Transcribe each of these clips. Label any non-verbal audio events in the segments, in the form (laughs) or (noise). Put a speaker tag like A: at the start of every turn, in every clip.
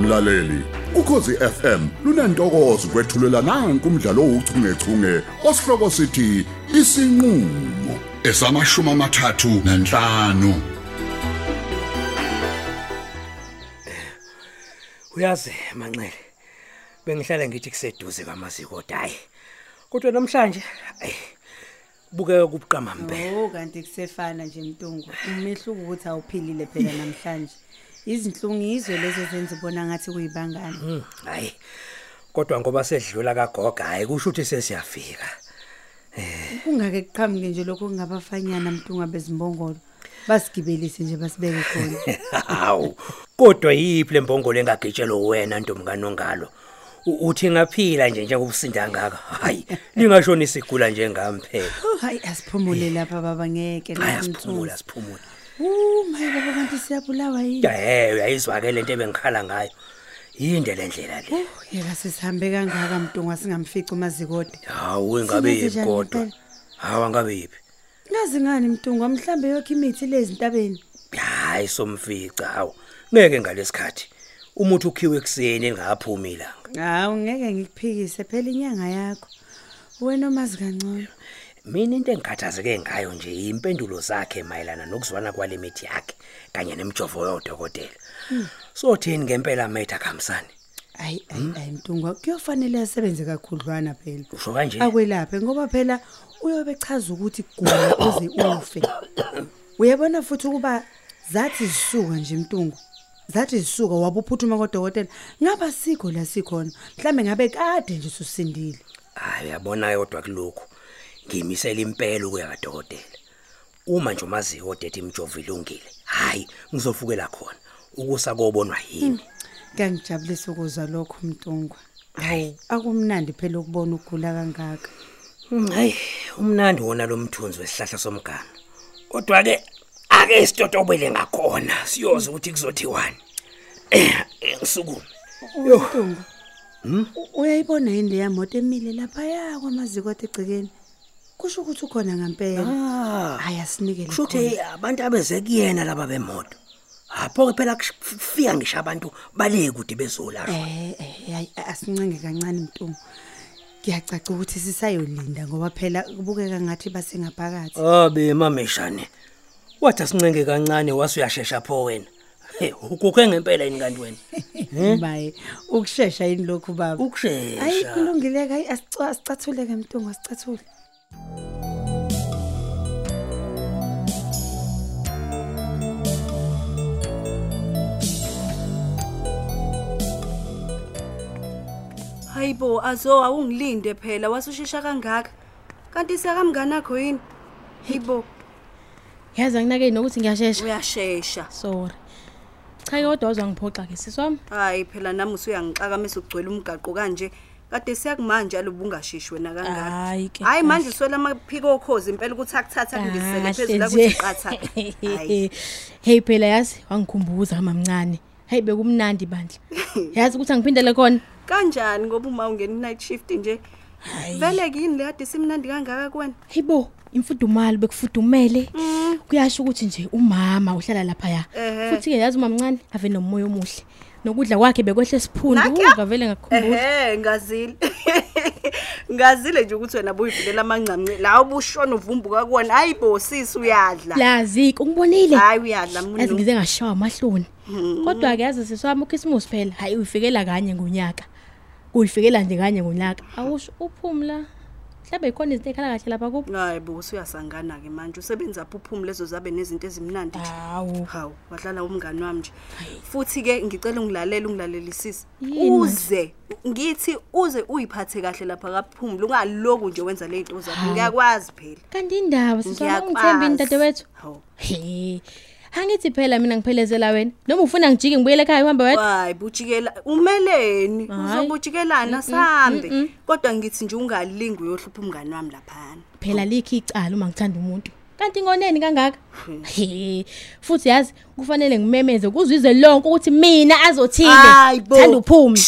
A: mlaleli ukhosi FM lunantokozo kwethulela nanku umdlalo ouchungechunge osihloko sithi isinqulo esamashumi amathathu nanhlanu
B: uyazi manxele bengihlale ngithi kuseduze kwamaziko kodwa hayi kodwa namhlanje ayi kubukeka kubuqama mbe
C: Oh kanti kusefana nje mtungu. Umehluko ukuthi awuphilile phela namhlanje. Izinhlungizo lezo zenza ubona ngathi kuyibangani.
B: Hmm, hayi kodwa ngoba sedlula kagoga hayi kusho ukuthi sesiyafika (laughs)
C: Kungake kuqhamuke nje lokho kungabafanyana mtungu abezimbongolo. Basigibelise nje basibeke khona.
B: hawu kodwa yiphi le mbongolo engagitshelwa wena ntombi kanongalo U- uthi ngaphila nje njengobusinda ngaka hayi lingashona isigula njengami phela
C: Oh, Hayi asiphumule lapha baba ngeke
B: hayi
C: nathi
B: asiphumule
C: mthunzi.
B: asiphumule
C: Uh my baba kanti siyabulawa yini?
B: ehe uyayizwa ke lento ebengikhala ngayo yinde le ndlela le
C: Oh, yeka sesihambe kangaka mtungu asingamfica umazikode.
B: hawu ingabe
C: Singenze
B: yiphi
C: njani
B: kodwa
C: impela?
B: hawu angabe yiphi
C: Ngazi ngani mtungu mhlambe yokho imithi lezi ntabeni.
B: hayi somfica hawu ngeke ngalesikhathi umuntu ukhiwe ekseni engaphumi ilanga
C: Hawu ngeke ngikuphikise phela inyanga yakho. Wena omazi kangcono.
B: mina into engikhathazeke ngayo nje impendulo zakhe mayelana nokuzwana kwale mithi yakhe kanye nemijovo yodokotela so thini ngempela metha khamsane
C: Ayi ayi ayi mtungu kuyofanele asebenze kakhudlwana phela.
B: usho kanje
C: Akwelaphe ngoba phela uyobe chaza ukuthi kugula uze ufe. Uyabona futhi ukuba zathi zisuka nje mtungu. Zathi zisuka wabuphuthuma kodokotela. Ngaba sikho la sikhona. Mhlambe ngabe kade nje susindile.
B: hayi uyabona yodwa kulokhu ngimisela impela ukuya kadokotela uma nje umaziyo odethi imijovo ilungile hayi ngizofukela khona ukusa kobonwa yini
C: Kangijabulisa ukuzwa lokho mtungu. Hayi akumnandi phela ukubona ugula kangaka.
B: Hayi, Mm, umnandi wona lo mthunzi wesihlahla somgana. Kodwa ke ake isitotobele ngakhona, siyoze ukuthi kuzothiwani. Eh, ngisukume.
C: Yontungu. U- Uyayibona yini leya moto emile lapha yakwa maziko ategcekeni? Kusho ukuthi ukhona ngempela.
B: Ah,
C: Hayi asinikele.
B: shothe abantu abeze kuyena laba bemoto. Apho ke phela kufika ngisho abantu bale kude bezolashwa.
C: eh eh hayi asincenge kancane mntungu. Ngiyacaca ukuthi sisayolinda ngoba phela kubukeka ngathi basengaphakathi.
B: Abe mameshane. Wathi asincenge kancane wase uyashesha pho wena. He, ukukhe ngempela yini kanti wena?
C: Baye ukusheshsha eh, yini lokhu baba? Hayi
B: Ukushesha.
C: kulungile hayi asicwa sicathuleke mntungu asicathule.
D: hayibo azo Oh, awungilinde phela wasushesha kangaka kanti siyakamnganakho yini hibo
E: yazi anginakeni nokuthi ngiyashesha
D: uyashesha
E: sorry cha kodwa wazwa ngiphoxa ke sisi wami
D: hayi phela nami usuyangixakamisa ugcwele umgaqo kanje kade siyakumanje alobu ungasheshi wena kangaka
E: Hayi ke,
D: hayi
E: kahle.
D: manje swela amaphiko okhozi impela ukuthi akuthatha akundisele phezulu
E: Kahle nje.
D: akuthi qatha hayi
E: (laughs) hey phela yazi wangikhumbuza mamncane hayi bekumnandi bandla yazi ukuthi angiphindele khona
D: kanjani ngoba uma ungena i-night shift nje vele kuyini le kade simnandi kangaka kuwena
E: hey bo imfudumalo bekufudumele
D: Mm.
E: kuyasho ukuthi nje umama uhlala lapha ya
D: Ehhe.
E: futhi ke yazi umamncane ave nomoya omuhle nokudla kwakhe bekwehle siphundu
D: Nakhiya?
E: ngavele ngakhumbuza
D: ehe ngazile (laughs) ngazile nje ukuthi wena buyivulela amancamnci la ubushona uvumbuka kuwona hayi bosisi uyadla
E: lazike ungibonile
D: hayi uyadla
E: yazi
D: mnu
E: ngize ngashawa amahloni
D: Hmm.
E: kodwa-ke yazi siswami ukhisimusi phela hhayi uyifikela kanye ngonyaka uyifikela nje kanye ngonyaka awusho uphumla mhlawumbe yikhona izinto ey'khala kahle lapha kubo
D: hayi bosi uyasangana-ke manje usebenza phuphumu lezo zabe nezinto ezimnandi nje
E: hawu
D: hawu wadlala umngani wami nje futhi-ke ngicela ungilalele ungilalelisise
E: Yini manje?
D: uze ngithi uze uyiphathe kahle lapha kaphumule ungaloku nje wenza le y'nto zakho
E: Hawu.
D: ngiyakwazi phela
E: kanti indaba siswami ungithembini dadewethu
D: hawu
E: he angithi phela mina ngiphelezela wena noma ufuna ngijike ngibuyele ekhaya uhambe wedwa
D: hayi bujikela umeleni
E: Hhayi.
D: uzobujikelana sambe kodwa ngithi nje ungalingi uyohlupha umngani wami laphana
E: phela likho icala uma ngithanda umuntu kanti ngoneni kangaka he futhi yazi kufanele ngimemeze kuzwize lonke ukuthi mina azothile
D: Hayi bo.
E: thanda uphumi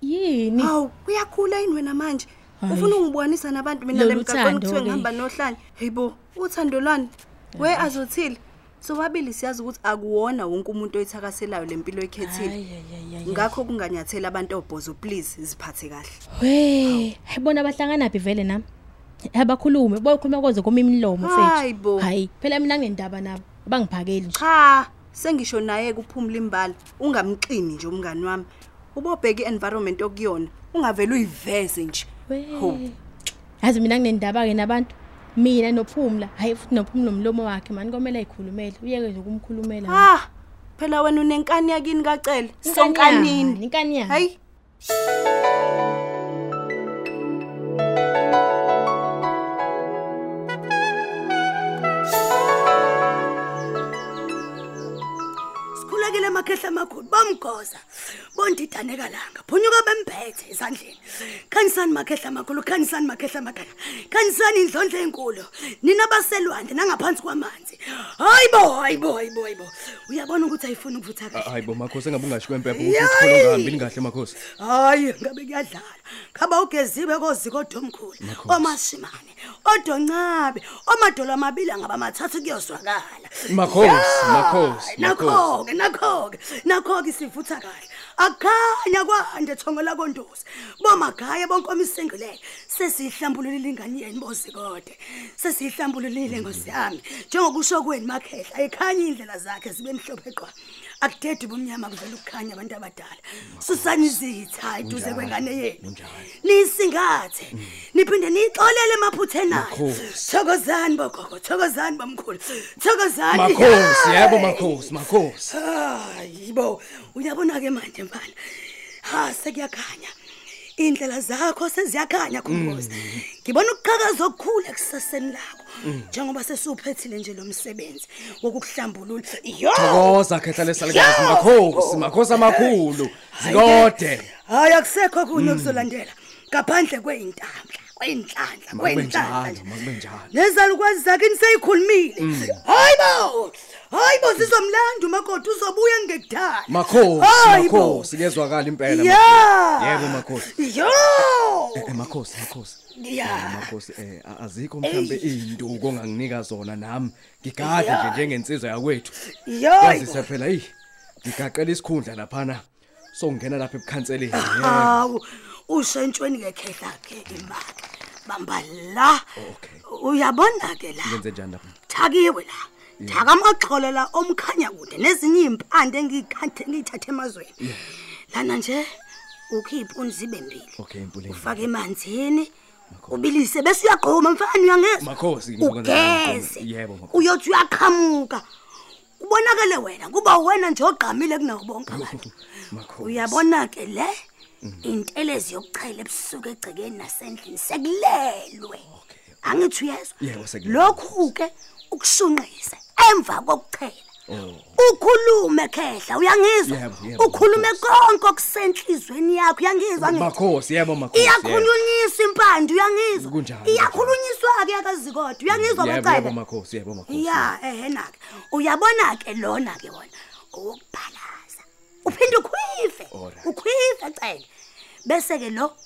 E: yini
D: hawu uyakhula yini wena manje
E: Hhayi.
D: ufuna ungibukanisa nabantu mina
E: Lolu
D: lemgaqweni
E: thando-ke.
D: kuthiwe ngihamba nohlanye heyibo uthando lwani we azothile sobabili siyazi ukuthi akuwona wonke umuntu oyithakaselayo lempilo ekhethile ngakho kunganyathela abantu obhozo please ziphathe kahle
E: we hayibona bahlanganaphi vele nami abakhulume bokhuluma koze koma imilomo
D: Hayi bo.
E: fethu hayi phela mina ngendaba nabo bangiphakeli nje
D: cha sengisho naye kuphumla imbala ungamqini nje umngani wami ubobheka i-environment okuyona ungavele uyiveze nje
E: We.
D: Hope.
E: yazi mina nginendaba-ke nabantu mina nophumla hhayi futhi nophumla umlomo wakhe mani komele ayikhulumele uyeke nje ukumkhulumela
D: ah phela wena unenkani yakini kacele sonkanini
E: inkani yami
D: hayi
F: sikhulekile emakhehla amakhulu bomgoza bondidanekalanga phunyuka bemphethe ezandleni khanyisani makhehla amakhulu khanyisani makhehla amadala khanyisani indlondla enkulu nina baselwandle nangaphansi kwamanzi hayi bo hayi bo hayi bo hayi bo uyabona ukuthi ayifuni ukuvutha kahle
G: hayi bo makhosi engabe ungashiwo empepha
F: Yayi!
G: ukuthi ungahambini kahle makhosi
F: hayi ngabe kuyadlala khaba ugeziwe koziko odomkhulu omashimane odoncabe omadolo amabili angaba mathathu kuyozwakala
G: Makhosi,
F: Ya,
G: makhosi, makhosi.
F: nakho-ke nakho-ke nakho-ke sivutha kahle akukhanya kwande thongo lakondosi bomagaya bonkomo isingileyo sesiyihlambululile ingane yeni bozikode sesiyihlambululile nkosi yami njengokusho kweni makhehla ayikhanye iy'ndlela zakhe zibe mhlophe qwa akudede ubumnyama kuvela ukukhanya abantu abadala susani izitha eduze kwengane yenu niyisingathe
G: Mm.
F: niphinde niyixolele emaphutheni ayo thokozani bogogo thokozani bomkhulu thokozani
G: makhosi yebo
F: Hey!
G: makhosi makhosi
F: hayi bo uyabona-ke manje mfana ha sekuyakhanya iy'ndlela zakho seziyakhanya khumbozi
G: Mm.
F: ngibona ukuqhakaza okukhulu ekusaseni lakho njengoba sesiwuphethile nje lo msebenzi wokukuhlambulula yo
G: thokoza khehla lesalikazi
F: Yo!
G: makhosi makhosi amakhulu zikode
F: hayi akusekho
G: Mm.
F: kunye okuzolandela ngaphandle kwey'ntamla kwey'nhlanhla
G: makube
F: kwey'nhlanhla
G: njalo
F: nje.
G: makube njalo Mm.
F: nezalukwazi zakhe niseyikhulumile hayi bo hayi bo zizomlanda umakoti uzobuya ngekudala
G: makhosi makhosi kuyezwakala impela
F: ya
G: yebo makhosi
F: yo
G: Eh, makhosi makhosi Eh,
F: ya
G: makhosi eh a- azikho mhlambe izinduku onganginika zona nami ngigade nje njengensizwa yakwethu
F: yo
G: yazise phela hey ngigaqela isikhundla laphana songena lapha ebukhanseleni yebo
F: hawu ushentshweni kekhehla ke imali bamba la
G: okay
F: uyabona ke la
G: ngenze njani lapha
F: thakiwe la thaka amaxholo la omkhanya kude nezinye iy'mpande engiyikhathe- ngiyithathe emazweni lana nje ukhiphe unzibe mbili
G: okay impuleni
F: ufake emanzini ubilise bese uyagquma mfana uyangezwa
G: Makhosi, ngizokwenza njalo,
F: ugeze
G: Nkosi. Yebo, makhosi.
F: uyothi uyaqhamuka ubonakele wena kuba wena nje ogqamile kunawo bonke
G: (laughs)
F: abantu
G: makhosi
F: uyabona-ke le intelezi yokuchela ebusuku egcekeni nasendlini sekulelwe
G: okay.
F: angithi uyezwa
G: Yebo, sekulelwe.
F: lokhu-ke ukushunqise emva kokuchela ukhulume khehla uyangizwa
G: Yebo, yebo,
F: ukhulume konke okusenhlizweni yakho uyangizwa ngithi?
G: makhosi yebo makhosi yebo.
F: iyakhulunyiswa impande uyangizwa
G: Kunjalo.
F: iyakhulunyiswa-ke yakazikodwa uyangizwa
G: Yebo, yebo
F: bacele
G: makhosi yebo makhosi
F: ya ehena-ke uyabona-ke lona-ke wona owokubhalaza uphinde ukhwive
G: Alright.
F: ukhwive cele bese-ke lo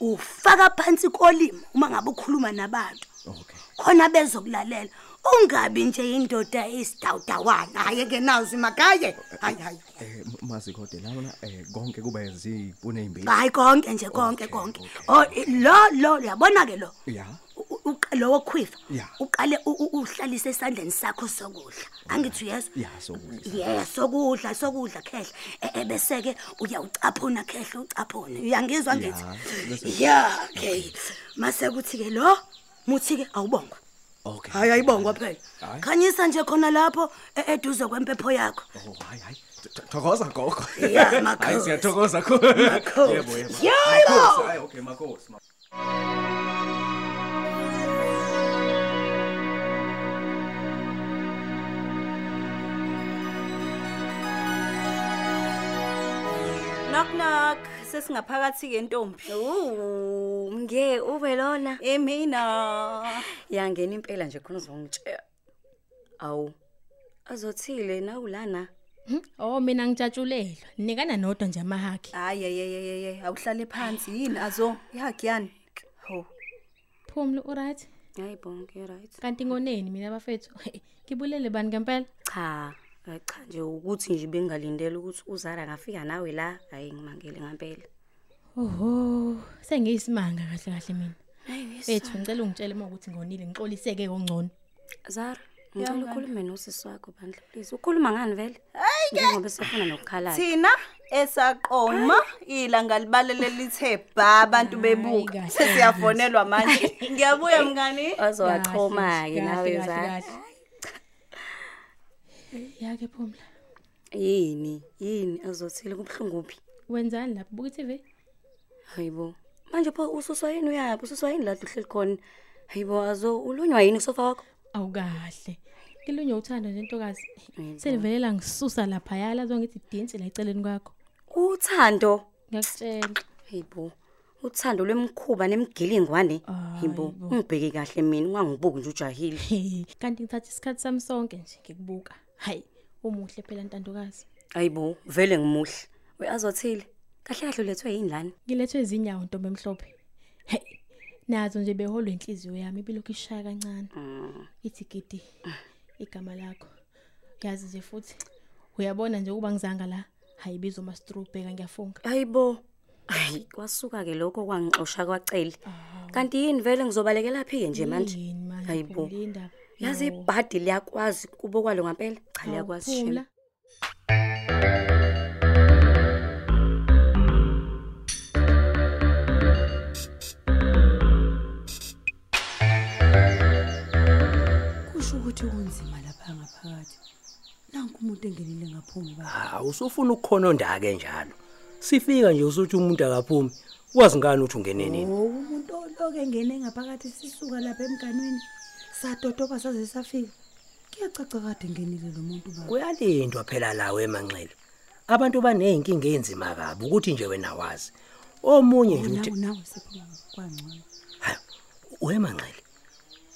F: ufaka phansi kolimo uma ngabe ukhuluma nabantu
G: okay
F: khona bezokulalela ungabi nje indoda eyisidawudawana hhayi-ke nazo imagaye hayi hayi
G: eh mazikode lana eh konke kuba zikuneyimbi
F: hayi konke nje konke konke
G: okay.
F: Oh, lo lo uyabona-ke lo
G: ya
F: U- u- u- lowo khwifa
G: Yeah.
F: uqale u- u- uhlalise esandleni sakho sokudla angithi
G: Yeah,
F: uyezwa
G: sokudla.
F: ye sokudla sokudla khehla E- ebese-ke uyawucaphuna khehla ucaphune uyangizwa ngithi ya okay mase kuthi-ke lo muthi-ke awubongwa
G: okay
F: hayi ayibongwa phela
G: Hayi.
F: khanyisa nje khona lapho e- eduze kwempepho
G: (laughs)
F: yakho
G: oh hayi hayi Th- thokoza gogo
F: Ya,
G: hayi
F: makhosi.
G: siyathokoza khona
F: Makhosi.
G: yebo yebo
F: Yebo!
G: Makhosi, hayi okay makhosi ma-
D: knock knock sesingaphakathi ke ntombi E,
H: Uh, nge ube lona
D: emina
H: yangena impela nje khona uzongitshela awu azothile nawulana
E: oh mina ngijatshulelwa nikana nodwa nje amahakhi
D: hayi ayeyeyeye awuhlale phansi yini azo yagiyani ho
E: phumla uright
H: hayi bonke you right
E: kanti ngoneni mina bafethu ngibulele bani ngempela
H: cha hayi cha nje ukuthi nje bengalindela ukuthi uzara ngafika nawe la hayi ngimangele ngempela
E: oho sengiyisimanga kahle kahle mina
H: hayi wesi.
E: bethu ngicela ungitshele uma ukuthi ngonile ngixoliseke kongcono
H: zara ngicela ukhulume nosisi wakho bandla please ukhuluma ngani vele njengoba sefuna nokukhalala
D: thina esaqoma ilanga libalele lithe ba abantu
E: Hayi,
D: bebuka
E: kahle.
D: sesiyafonelwa manje ngiyabuya mngani
H: ozowachoma-ke nawe zara
E: yake phumla
H: yini yini azothile kubuhlunguphi
E: wenzani lapho buka i-tv
H: hayibo manje pho ususwa yini uyaphi ususwa yini lada uhleli khona hayibo azo ulunywa yini kusofa wakho
E: awukahle ilunye uthando nje ntokazi
H: Yebo.
E: selivelela ngisusa laphaya lazo ngithi dinsi la eceleni kwakho
H: uthando
E: ngiyakutshela
H: hayibo uthando lwemkhuba nemigilingwane Ah, hayibo ungibheke kahle mina ungangibuki nje ujahile
E: kanti ngithatha isikhathi sami sonke nje ngikubuka hayi umuhle phela ntandokazi
H: hayibo vele ngimuhle we azothile kahle kahle ulethwe yini lani
E: ngilethwe izinyawo ntombi emhlophe heyi nazo nje beholwe inhliziyo yami ibilokhu ishaya kancane
H: Mm.
E: ithi gidi igama lakho yazi nje futhi uyabona nje ukuba ngizanga la hayi bizo mastru bheka ngiyafunga
H: hayibo hayi kwasuka-ke lokho kwangixosha kwacele kanti yini vele ngizobalekela-phi-ke nje manje
E: yini manje
H: hayibo
E: Phumla, indaba
H: yazi
E: No.
H: ibhadi liyakwazi kubo kwalo ngampela cha liyakwazi shame.
E: Phumla.
C: kusho ukuthi kunzima lapha ngaphakathi nanku umuntu engenile ngaphumi ba
B: ha Ah, usufuna ukukhononda ke njalo sifika nje usuthi umuntu akaphumi wazi ngani ukuthi ungene nini
C: oh umuntu oloke engene ngaphakathi sisuka lapha emganwini sadodoba saze safika kuyacaca kade ngenile lo muntu ba
B: kuyalindwa phela lawo emanxele abantu baneyinkinga enzima kabi ukuthi nje wena wazi omunye nje uthi
C: nawe nawe sephuma kwangcono
B: Hayi, wemanxele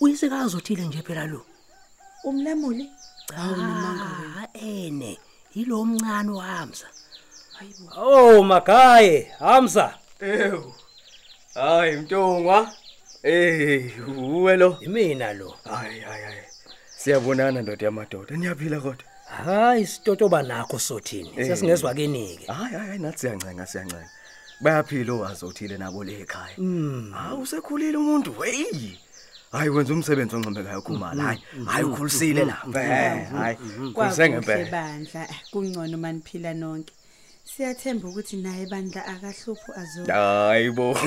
B: uyisekazi uthile nje phela lo
C: umlamuli
B: Ah, ene yilo mncane uhamza oh magaye hamza
G: ewu hayi mntongwa ey uwe lo
B: imina lo
G: hayi hayi hayi siyabonana ndoda yamadoda niyaphila kodwa
B: hayi sitotoba nakho
G: Eh.
B: sothini sesingezwa kinike
G: hayi hayi hayi nathi siyancenga siyancenga bayaphila owazothile nabo le ekhaya
B: Hmm,
G: hawu usekhulile umuntu weyi hayi wenza umsebenzi oncomekayo khumala hayi hayi ukhulisile lapha hayi
B: Hmm,
C: kwakuhle
G: kulisengempela
C: bandla kungcono maniphila nonke siyathemba ukuthi naye bandla akahluphi azo
G: hayi bo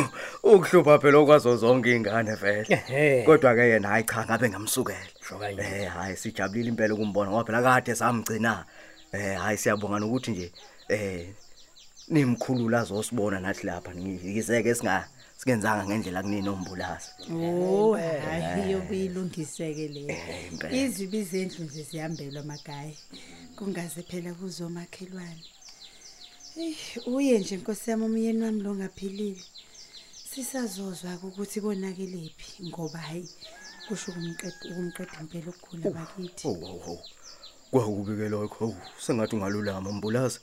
G: ukuhlupha phela okwazo zonke iy'ngane
B: Ehhe.
G: vele kodwa-ke yena hayi cha ngabe ngamsukela
B: Sho kanjalo.
G: Eh, hayi sijabulile impela ukumbona ngoba phela kade samgcina um hayi siyabonga nokuthi nje um nimkhulula azosibona nathi lapha ngiyiseke singenzanga ngendlela kuninoombulazi
C: oh hayi yobuyilungiseke leyo
G: eh, impela.
C: izwi bizendlu nje zihambelwa magaye kungaze phela kuzomakhelwane eyi uye nje nkosi yami umyeni wami lo ngaphilile sisazozwa-ke ukuthi konakelephi ngoba hhayi kusho ukumqeda ukumqeda impela ukukhula bakithi
G: Oh wow wow. Kwakubi ke lokho. Hawu, Sengathi ungalulama umbulaza.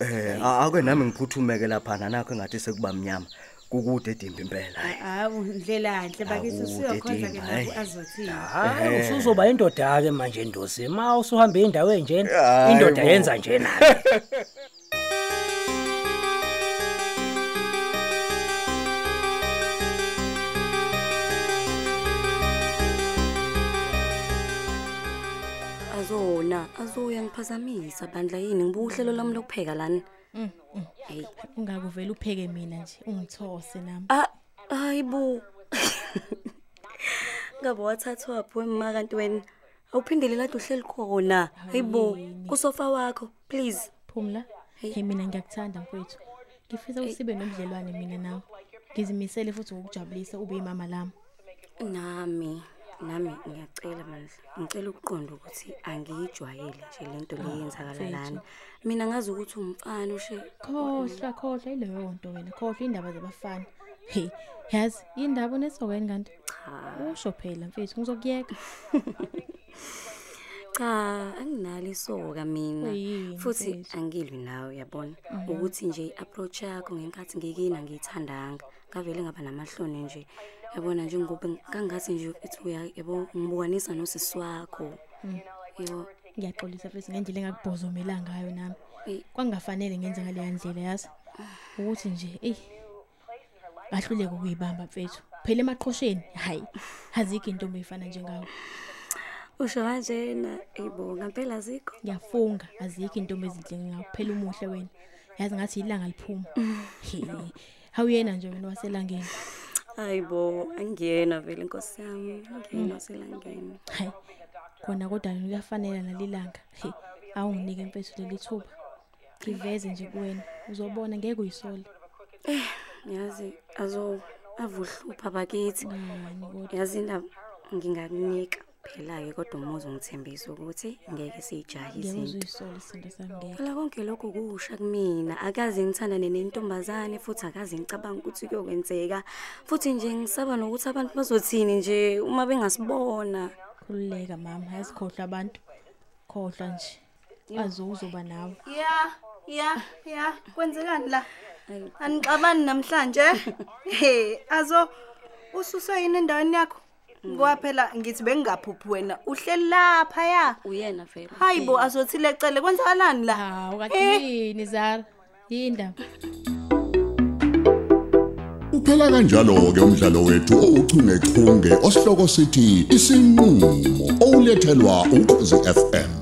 G: Eh a- ake nami ngiphuthumeke lapha nanakho engathi sekuba mnyama. Kukude edimba impela.
C: hawu ndlela nhle bakithi
G: Hawu,
C: usuyokhonza-ke
G: Dedimba,
C: nabo
G: hhayi.
C: azothini
B: hayi
G: Eh.
B: usuzoba indoda-ke manje ndosi ma usuhambe indawo enjena
G: Hayi
B: indoda
G: bo.
B: yenza njena
H: azona azoya ngiphazamisa bandla yini ngibuka uhlelo lami lokupheka lani
E: Mm,
H: hayi
E: ungakuvela upheke mina nje ungithose nami
H: Ah, hayi bo (laughs) ngabe wathathwa waphi wemma kanti wena awuphindele lade uhleli khona hayi bo kusofa wakho please
E: phumla hey mina ngiyakuthanda mfowethu ngifisa usibe nomdlelwane mina nawe ngizimisele futhi ngokujabulisa ube imama lami
H: nami nami ngiyacela mandla ngicela ukuqonda ukuthi angiyijwayele nje lento
E: Ah,
H: leyenzakala lana mina ngazi ukuthi umfana ushe
E: khohlwa khohlwa ileyo nto wena khohlwa indaba zabafana hey yazi indaba unesokweni kanti
H: cha
E: usho phela mfethu ngizokuyeka
H: cha anginalo isoka mina
E: Uyini
H: futhi
E: mfethu? Mhm.
H: angilwi nawe yabona ukuthi nje i-approach yakho ngenkathi ngikina ngiyithandanga ngavele ngaba namahloni nje yabona njengoba ngi- kangathi nje ethi uya- yabo ngibukanisa nosisi wakho
E: Mhm.
H: yebo
E: ngiyaxolisa futhi ngendlela engakubhozomela ngayo nami
H: Eh.
E: kwangafanele ngenze ngaleya ndlela yazi ukuthi nje eyi ngahluleka ukuyibamba mfethu phela emaqhosheni hhayi azikho intombi ey'fana njengawo
H: usho kanjena ibonga mpela zikho
E: ngiyafunga azikho intombi ezinhle ngawo phela umuhle wena yazi ngathi ilanga liphuma he hawuyena nje wena waselangeni
H: hayi bo angiyena vele inkosi yami angiyena selangeni
E: hayi khona kodwa yena kuyafanela nalilanga he awunginike mfethu leli thuba ngiveze nje kuwena uzobona ngeke uyisole
H: yazi azo avuhlupha bakithi
E: ngani kodwa
H: yazi indaba ngingakunika phela-ke kodwa uma uzongithembisa ukuthi ngeke siyijahise
E: ngeke
H: into
E: uzuyisole isinto sami ngeke
H: phela konke lokhu kusha kumina akaze ngithandane nentombazane futhi akaze ngicabanga ukuthi kuyokwenzeka futhi nje ngisaba nokuthi abantu bazothini nje uma bengasibona
E: khululeka mama ayizikhohlwa abantu khohlwa nje azo uzoba nawe
D: ya ya ya kwenzekani la anixabani namhlanje he azo ususwe yini endaweni yakho ngoba phela ngithi bengingaphuphi wena uhleli lapha ya
H: uyena vele
D: hayi bo azothile cele kwenzakalani la
E: hawu
D: Eh.
E: kakuyini zara yindaba
A: Uphela kanjalo ke umdlalo wethu ouchungechunge osihloko sithi isinqulo owulethelwa ukhosi FM.